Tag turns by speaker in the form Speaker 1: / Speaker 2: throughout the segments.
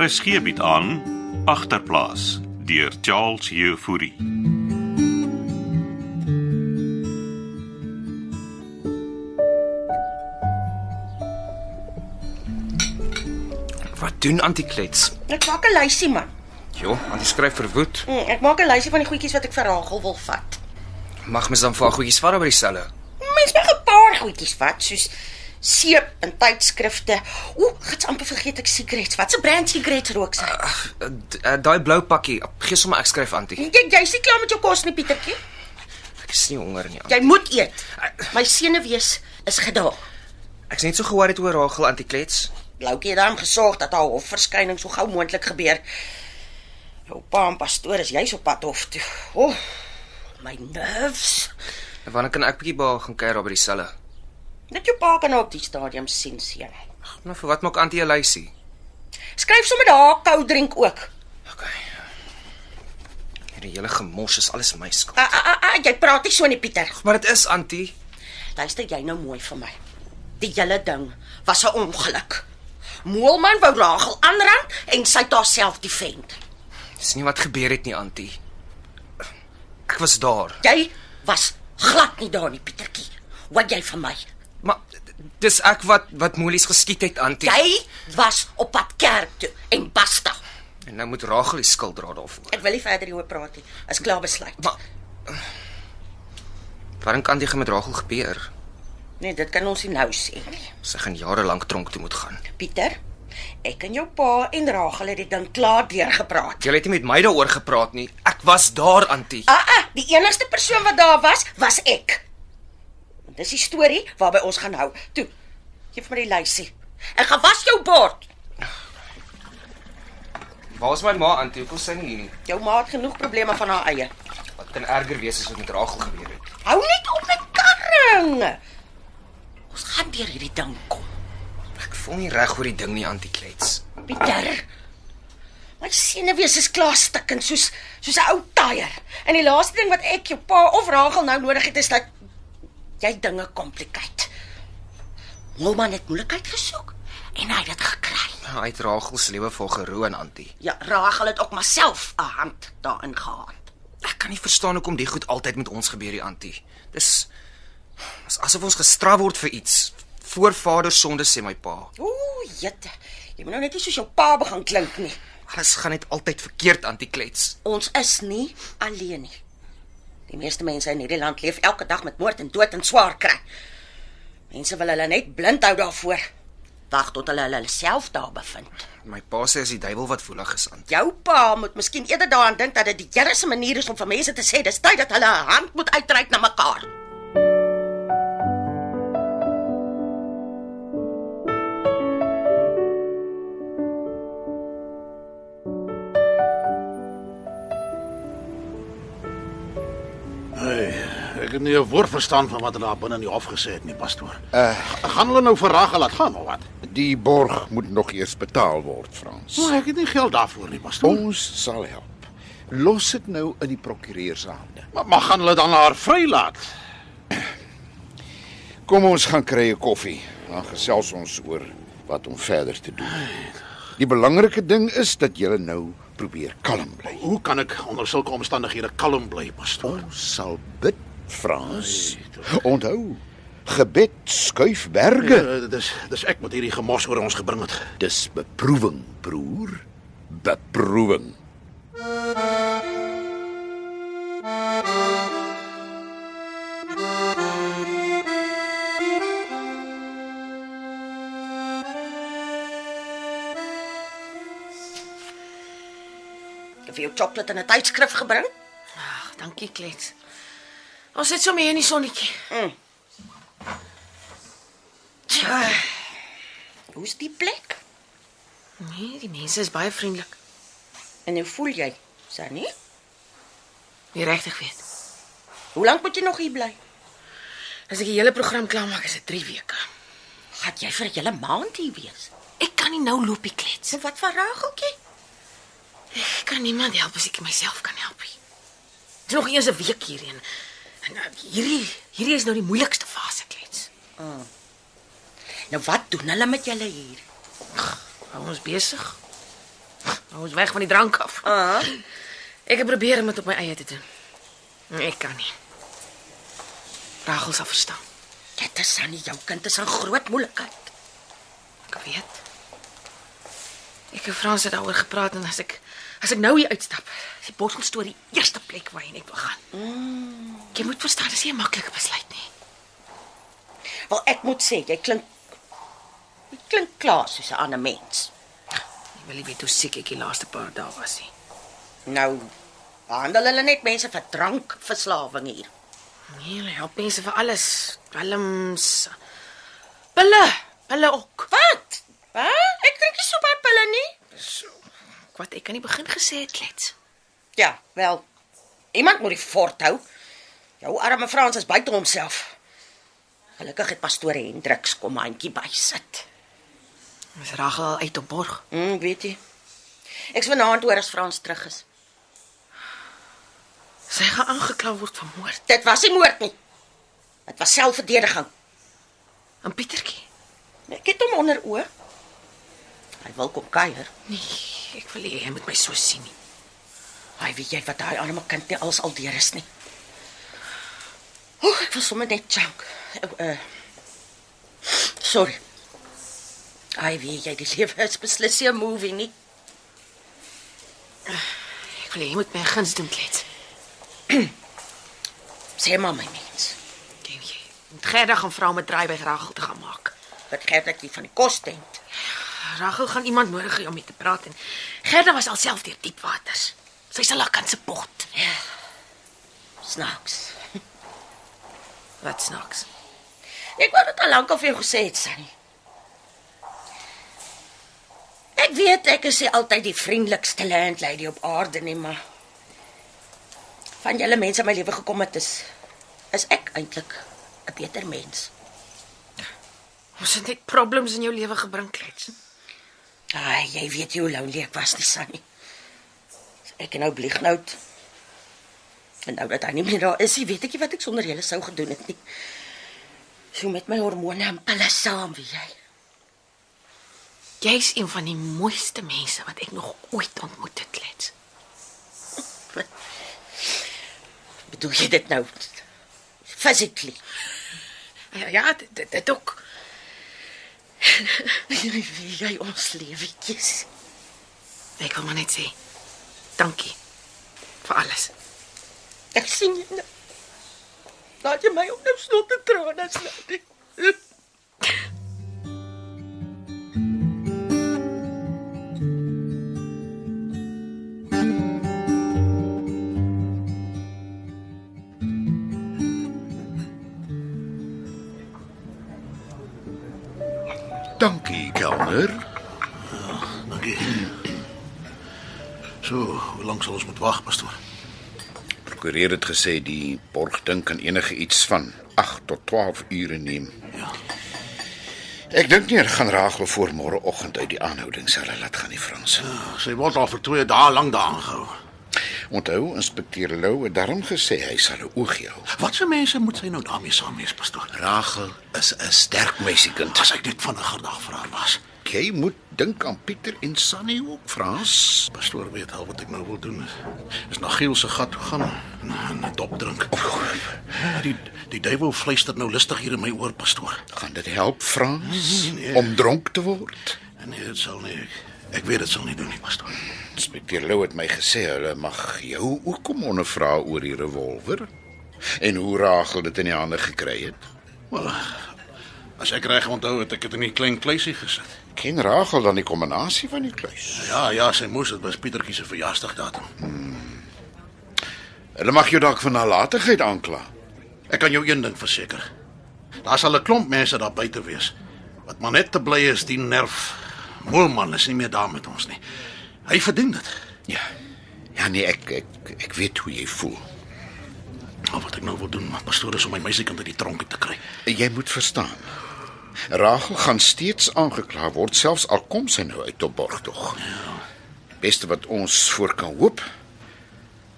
Speaker 1: RSG bied Er aan agterplaas deur Charles Jefouri.
Speaker 2: Wat doen antiklets?
Speaker 3: Ek maak 'n lysie man.
Speaker 2: Jo, antie skryf verwoed.
Speaker 3: Mm, Ek maak 'n lysie van die goedjies wat ek vir Rachel wil vat.
Speaker 2: Mag mens dan vir haar goedjies vat by dieselfde.
Speaker 3: Mens mag 'n paar goedjies vat soos seep en tydskrifte. Ooh, gits amper vergeet ek sigarette. Wat se brand sigarette rook sy?
Speaker 2: Uh, d- uh, Daai blou pakkie, gee sommer ek skryf antie.
Speaker 3: Jy jy's nie klaar met jou kos nie, Pietertjie.
Speaker 2: Ek is nie honger nie. ja. Antie.
Speaker 3: Jy moet eet. My senuwees is gedaag.
Speaker 2: Ek's net so geworried oor Rachel antiklets.
Speaker 3: Bloukie het daarom gesorg dat haar hofverskyning so gou moontlik gebeur. Jou pa en pastoor is jy's op pad hof toe. O, oh, my nerves.
Speaker 2: Wanneer kan ek bietjie by haar gaan kuier daar by dieselfde?
Speaker 3: Net jou pa kan nou op die stadium sien seun.
Speaker 2: Nou vir wat maak antie 'n lysie?
Speaker 3: Skryf sommer daar koud drink ook.
Speaker 2: Okay. Hierdie hele gemors is alles my skuld.
Speaker 3: Ah, ah, ah, ah, jy praat nie so nie Pieter.
Speaker 2: Maar dit is antie.
Speaker 3: Luister jy nou mooi vir my. Die hele ding was 'n ongeluk. Moelman wou Rachel aanrand en sy het haarself defend.
Speaker 2: Dis nie wat gebeur het nie antie. Ek was daar.
Speaker 3: Jy was glad nie daar nie Pietertjie. Wat jy van my?
Speaker 2: Maar d- dis ek wat wat moelies geskiet het antie.
Speaker 3: Jy was op pad kerk toe en basta.
Speaker 2: En nou moet Rachel die skuld dra daarvoor.
Speaker 3: Ek wil nie verder hieroor praat nie. Is klaar besluit.
Speaker 2: Maar Waarom kan dit met Rachel gebeur?
Speaker 3: Nee, dit kan ons nie nou sê nie.
Speaker 2: Sy gaan jare lank tronk toe moet gaan.
Speaker 3: Pieter, ek en jou pa en Rachel het die ding klaar deurgepraat.
Speaker 2: Jy het nie met my daaroor gepraat nie. Ek was daar, Antie.
Speaker 3: Ah ah, die enigste persoon wat daar was, was ek. En Dis die storie waarby ons gaan hou. Toe. Geef my die lysie. Ek gaan was jou bord.
Speaker 2: Waar's my ma, Antie? Hoekom sy nie hier nie?
Speaker 3: Jou ma het genoeg probleme van haar eie.
Speaker 2: Wat kan erger wees as wat met Rachel gebeur het?
Speaker 3: Hou net op met karring. Ons gaan deur hierdie ding kom.
Speaker 2: Ek voel nie reg oor die ding nie, Antie Klets.
Speaker 3: Pieter. My senuwees is klaar stikkend soos soos 'n ou tyre. En die laaste ding wat ek jou pa of Rachel nou nodig het is dat jy dinge komplikate. Molman het moeilikheid gesoek en hy het dit gekry.
Speaker 2: Hy het Rachel se lewe vol geroon, Antie.
Speaker 3: Ja, Rachel het ook myself 'n hand daarin gehad.
Speaker 2: Ek kan nie verstaan hoekom die goed altyd met ons gebeur, die Antie. Dis is asof ons gestraf word vir iets. Voorvader sonde sê my pa.
Speaker 3: Ooh, jette. Jy moet nou net nie soos jou pa begin klink nie.
Speaker 2: Alles gaan net altyd verkeerd, Antie Klets.
Speaker 3: Ons is nie alleen nie. Die meeste mense in hierdie land leef elke dag met moord en dood en swaar kry. Mense wil hulle net blind hou daarvoor. Wag tot hulle hulle self daar bevind.
Speaker 2: My pa sê as die duiwel wat woelig is, Antie.
Speaker 3: Jou pa moet miskien eerder daaraan dink dat dit die Here se manier is om vir mense te sê dis tyd dat hulle 'n hand moet uitreik na mekaar.
Speaker 4: Hey, ek het nie 'n woord verstaan van wat hulle daar binne in die hof gesê het nie, pastoor.
Speaker 5: Eh.
Speaker 4: Uh, gaan hulle nou vir Rachel laat gaan of wat?
Speaker 5: Die borg moet nog eers betaal word, Frans.
Speaker 4: Maar ek het nie geld daarvoor nie, pastoor.
Speaker 5: Ons sal help. Los dit nou in die prokureur se hande.
Speaker 4: Maar, maar gaan hulle dan haar vrylaat?
Speaker 5: Kom ons gaan kry 'n koffie. Dan gesels ons oor wat om verder te doen. Die belangrike ding is dat jy nou probeer kalm bly.
Speaker 4: Hoe kan ek onder sulke omstandighede kalm bly, pastoor?
Speaker 5: Ons sal bid, Frans. Onthou, gebed skuif berge.
Speaker 4: Eh, dis dis ek wat hierdie gemos oor ons gebring het.
Speaker 5: Dis beproewing, broer. Beproewing.
Speaker 3: Ek het vir jou chocolate en 'n tydskrif gebring.
Speaker 6: Ag, dankie Klets. Ons sit sommer hier in die sonnetjie.
Speaker 3: Mm. Hoe's die plek?
Speaker 6: Nee, die mense is baie vriendelik.
Speaker 3: En hoe voel jy? Sannie,
Speaker 6: Jy regtig weet.
Speaker 3: hoe lank moet jy nog hier bly?
Speaker 6: As ek die hele program klaar maak, is dit 3 weke.
Speaker 3: Gaan jy vir 'n hele maand hier wees?
Speaker 6: Ek kan nie nou loopie klets.
Speaker 3: So wat van Rageltjie?
Speaker 6: Ek kan niemand help as ek myself kan help nie. Dit is nog eers 'n week hierheen. En nou, hierdie hierdie is nou die moeilikste fase klets.
Speaker 3: Nou wat doen hulle met julle hier?
Speaker 6: Hou ons besig. Hou ons weg van die drank af.
Speaker 3: Ah.
Speaker 6: Ek het probeer om dit op my eie te doen. Nee, Ek kan nie. Rachel sal verstaan.
Speaker 3: Dit is aan nie jou kind is 'n groot moeilikheid.
Speaker 6: Ek weet. Ek het Frans het daaroor gepraat en as ek as ek nou hier uitstap, is die bottel storie die eerste plek waarheen ek wil gaan. Jy moet verstaan, dis nie 'n maklike besluit nie.
Speaker 3: Wel ek moet sê, jy klink jy klink klaar soos 'n ander mens.
Speaker 6: Jy wil nie weet hoe siek ek die laaste paar dae was nie.
Speaker 3: Nou handel hulle net mense vir drankverslawing hier.
Speaker 6: Nee, hulle help mense vir alles. Dwelms. Pille, pille ook.
Speaker 3: Wat? Hæ? Ek drink nie so baie pille nie.
Speaker 6: Wat ek aan die begin gesê het, klets.
Speaker 3: Ja, wel. Iemand moet die fort hou. Jou arme Frans is buite homself. Gelukkig het pastoor Hendriks kom handjie by sit.
Speaker 6: Is Rachel al uit op borg?
Speaker 3: Mm, weet jy. Ek's vanaand hoor as Frans terug is.
Speaker 6: Sy gaan aangekla word vir moord.
Speaker 3: Dit was nie moord nie. Dit was selfverdediging.
Speaker 6: En Pietertjie?
Speaker 3: Ek het hom onder oë. Hy wil kom kuier.
Speaker 6: Nee, ek wil nie hy moet my so sien nie.
Speaker 3: Hy weet jy wat daai arme kind nie alles al deur is nie. Oek, ek was sommer net chunk. Uh, uh, sorry. Hy weet jy die lewe is beslis nie 'n movie nie.
Speaker 6: Ek wil hê jy moet my 'n guns doen, klets.
Speaker 3: Sê maar my mens.
Speaker 6: Ken jy? Moet Gerda gaan vra om 'n draai by Rachel te gaan maak.
Speaker 3: Wat gerd ek nie van die kos dink.
Speaker 6: Rachel gaan iemand nodig hê om mee te praat en Gerda was alself deur diep waters. Sy sal haar kan se pot.
Speaker 3: Snaaks.
Speaker 6: Wat snaaks.
Speaker 3: Ek wou dit al lank al vir jou gesê het, Sunny. Ek weet ek is nie altyd die vriendelikste landlady op aarde nie, maar van julle mense in my lewe gekom het is is ek eintlik 'n beter mens.
Speaker 6: Ons het net problems in jou lewe gebring, klets.
Speaker 3: Ai, jy weet nie hoe lonely ek was nie, Sunny. Ek en nou Bliegnout. En nou dat hy nie meer daar is, nie, weet ek nie wat ek sonder julle sou gedoen het nie. So met my hormone en pille saam, weet jy.
Speaker 6: Jy's een van die mooiste mense wat ek nog ooit ontmoet het, klets.
Speaker 3: Bedoel jy dit nou? Physically.
Speaker 6: Ja, ja dit, dit, dit ook.
Speaker 3: Jy weet jy ons lewetjies.
Speaker 6: Ek wil maar net sê dankie vir alles.
Speaker 3: Ek sien jou nou. Laat jy my op nou slot te traan as nou. nie.
Speaker 5: Dankie, kelner.
Speaker 4: Dankie. So, hoe lank sal ons moet wag, pastoor?
Speaker 5: Prokureur het gesê die borgding kan enige iets van 8 tot 12 ure neem.
Speaker 4: Ja.
Speaker 5: Ek dink nie er gaan Rachel voor môreoggend uit die aanhoudingselle laat gaan nie, Frans.
Speaker 4: Ja, Sy word al vir 2 dae lank daar aangehou.
Speaker 5: Onthou, inspekteur Lou het daarom gesê hy sal 'n oogie hou.
Speaker 4: Wat se mense moet sy nou daarmee saam wees, pastoor?
Speaker 5: Rachel is 'n sterk meisiekind.
Speaker 4: As ek net vinniger dag vir haar was.
Speaker 5: Jy moet dink aan Pieter en Sunny ook, Frans.
Speaker 4: Pastoor weet al wat ek nou wil doen. Is na Giel se gat toe gaan en 'n- 'n dop drink. Die die duiwel fluister nou lustig hier in my oor, pastoor.
Speaker 5: Gaan dit help, Frans,
Speaker 4: Nee, nee.
Speaker 5: om dronk te word?
Speaker 4: Nee, dit sal nie. Ek, ek weet dit sal nie doen nie, pastoor.
Speaker 5: Inspekteur Lou het my gesê hulle mag jou ook kom ondervra oor die revolver en hoe Rachel dit in die hande gekry het.
Speaker 4: Maar as ek reg onthou het ek dit in 'n klein kluisie gesit.
Speaker 5: Ken Rachel dan die kombinasie van die kluis?
Speaker 4: Ja, ja, sy moes dit was Pietertjie se verjaarsdagdatum.
Speaker 5: Hulle mag jou dalk van nalatigheid aankla.
Speaker 4: Ek kan jou een ding verseker. Daar sal 'n klomp mense daar buite wees wat maar net te bly is die nerf. Moelman is nie meer daar met ons nie. Hy verdien dit.
Speaker 5: Ja. Ja nee, ek ek ek weet hoe jy voel.
Speaker 4: Maar wat ek nou wil doen, maar pastoor is om my meisiekant uit die tronk te kry.
Speaker 5: Jy moet verstaan. Rachel gaan steeds aangekla word selfs al kom sy nou uit op borgtog. Ja. Beste wat ons voor kan hoop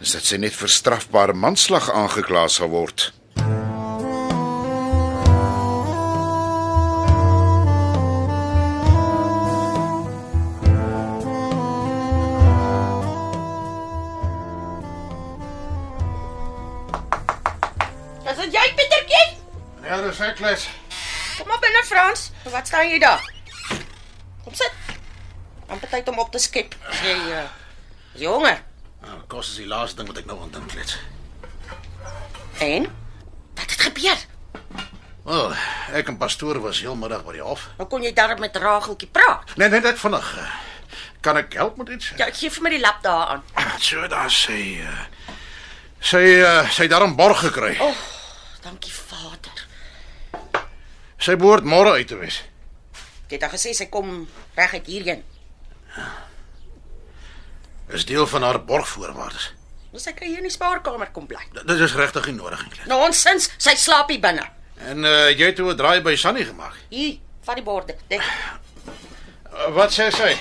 Speaker 5: is dat sy net vir strafbare manslag aangekla sal word.
Speaker 4: Ja, dis ek les.
Speaker 3: Kom maar binne Frans. Wat staan jy daar? Kom sit. Amper tyd om op te skep. As Jy uh, is jy honger.
Speaker 4: Nou, kos is die laaste ding wat ek nou aan dink, klets.
Speaker 3: En wat het gebeur?
Speaker 4: Wel, ek en pastoor was heelmiddag by die hof.
Speaker 3: Nou kon jy daar met Rageltjie praat.
Speaker 4: Nee, nee, net vinnig. Eh, Kan ek help met iets?
Speaker 3: Ja, gee vir my die lap daaraan.
Speaker 4: So daar sê uh, sy uh, sy het daarom borg gekry.
Speaker 3: O, oh, dankie Vader.
Speaker 4: Sy behoort môre uit te wees.
Speaker 3: Jy het al gesê sy kom reguit hierheen.
Speaker 4: Is deel van haar borgvoorwaardes.
Speaker 3: Ons sy kan hier in die spaarkamer kom bly.
Speaker 4: D- Dit is regtig nie nodig eintlik.
Speaker 3: Nou ons sins, sy slaap hier binne.
Speaker 4: En uh, jy het toe 'n draai by Sunny gemaak.
Speaker 3: Hier, vat die borde. Dit,
Speaker 4: Uh, wat sê sy?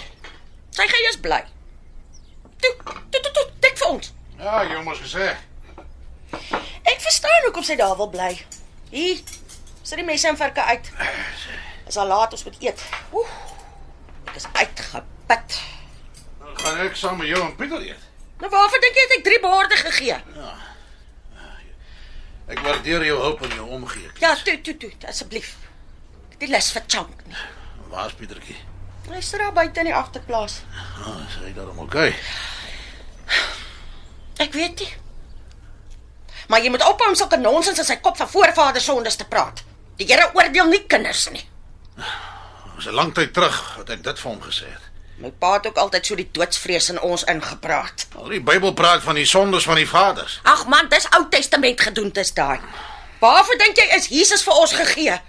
Speaker 3: sy gaan eers bly. Toe, toe, toe, toe, dik vir ons.
Speaker 4: Ja, jy moes gesê.
Speaker 3: Ek verstaan hoekom sy daar wil bly. Hier, sit die messe en varke uit.
Speaker 4: Eh,
Speaker 3: Is al laat, ons moet eet. Oeh. Ek is uitgeput.
Speaker 4: Dan "Nou gaan ek saam met jou en Pieter eet.
Speaker 3: Nou waarvoor dink jy het ek drie borde gegee?
Speaker 4: Ek waardeer jou hulp en jou omgee. Klets.
Speaker 3: Ja, toe, toe, toe, asseblief. Die les vir Chunk nie.
Speaker 4: Waar's Pietertjie?
Speaker 3: Hy sit daar buite in die agterplaas.
Speaker 4: Ah, sy het daarom okay.
Speaker 3: Ek weet nie. Maar jy moet ophou om sulke nonsens in sy kop van voorvaders sondes te praat. Die Here oordeel nie kinders nie.
Speaker 4: Dit was 'n lang tyd terug wat ek dit vir hom gesê het.
Speaker 3: My pa het ook altyd so die doodsvrees in ons ingepraat.
Speaker 4: Al die Bybel praat van die sondes van die vaders.
Speaker 3: Ag man, dis Ou Testament gedoentes daai. Waarvoor dink jy is Jesus vir ons gegee?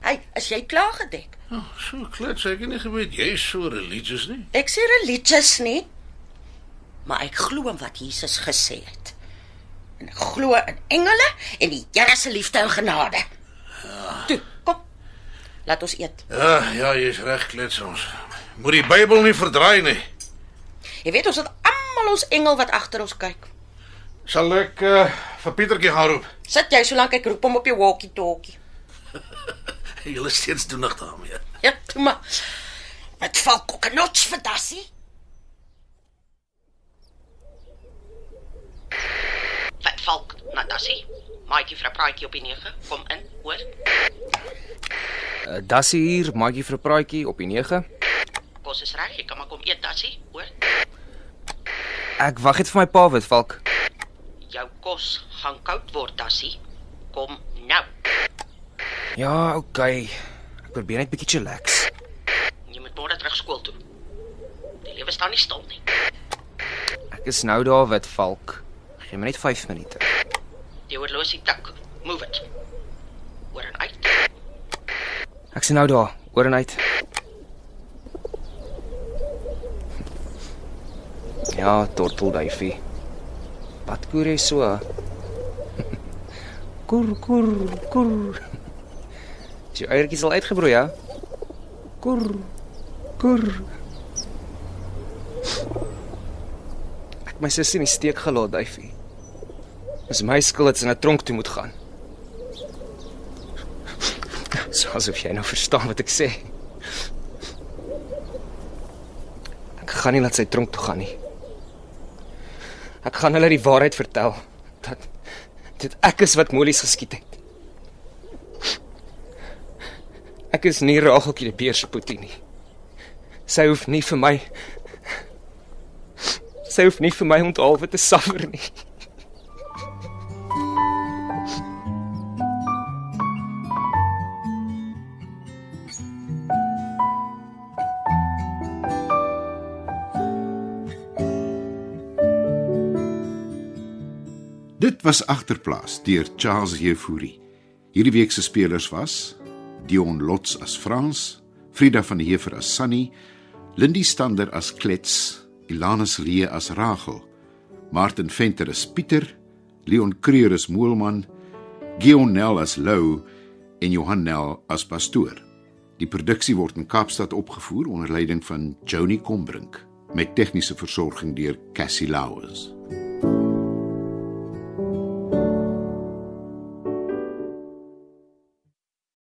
Speaker 3: Hey, is jy klaar gedek?
Speaker 4: Oh, so klets, ek het nie geweet jy is so religious nie.
Speaker 3: Ek sê religies nie, maar ek glo in wat Jesus gesê het. En ek glo in engele en die Here se liefde en genade. Toe, kom. Laat ons eet.
Speaker 4: Ja, ja, jy's reg, klets ons. Moet die Bybel nie verdraai nie.
Speaker 3: Jy weet ons het almal ons engel wat agter ons kyk.
Speaker 4: Sal ek uh, vir Pietertjie gaan roep?
Speaker 3: Sit jy solank ek roep hom op jou walkie-talkie.
Speaker 4: Julle is steeds doenig daarmee.
Speaker 3: Ja, toe maar. Wat val kokenots vir dassie? Wat val Natassie? Maatjie vra praatjie op die 9. Kom in, hoor.
Speaker 2: Uh, Dassie hier, maatjie vir 'n praatjie op die 9.
Speaker 3: Kos is reg, jy kan maar kom eet, Dassie, hoor.
Speaker 2: Ek wag net vir my pa wit valk.
Speaker 3: Jou kos gaan koud word, Dassie. Kom nou.
Speaker 2: Ja, okay. Ek probeer net bietjie chillax.
Speaker 3: Jy moet môre terug skool toe. Die lewe staan nie stil nie.
Speaker 2: Ek is nou daar wit valk. Gee my net 5 minute.
Speaker 3: Die horlosie tik. Move it. Oor en uit.
Speaker 2: Ek sien nou daar, oor en uit. Ja, tortelduifie. Wat koer jy so? Koer, koer, koer. Is jou eiertjies al uitgebroei, ja? Koer, koer. Ek het my sussie in die steek gelaat, duifie. Dis my skuld dat sy na tronk toe moet gaan. So asof jy nou verstaan wat ek sê. Ek gaan nie laat sy tronk toe gaan nie. Ek gaan hulle die waarheid vertel dat dit ek is wat Molies geskiet het. Ek is nie Rageltjie die beer se poetie nie. Sy hoef nie vir my sy hoef nie vir my onthaalwe te suffer nie.
Speaker 5: Dit was agterplaas deur Charles Jefouri. Hierdie week se spelers was Dion Lots as Frans, Frida van die Heever as Sunny, Lindie Stander as Klets, Ilanus Lee as Rachel, Martin Venter as Pieter, Leon Creur as Moelman, Gion Nel as Lou en Johan Nel as pastoor. Die produksie word in Kaapstad opgevoer onder leiding van Joni Combrink met tegniese versorging deur Cassie Lauers.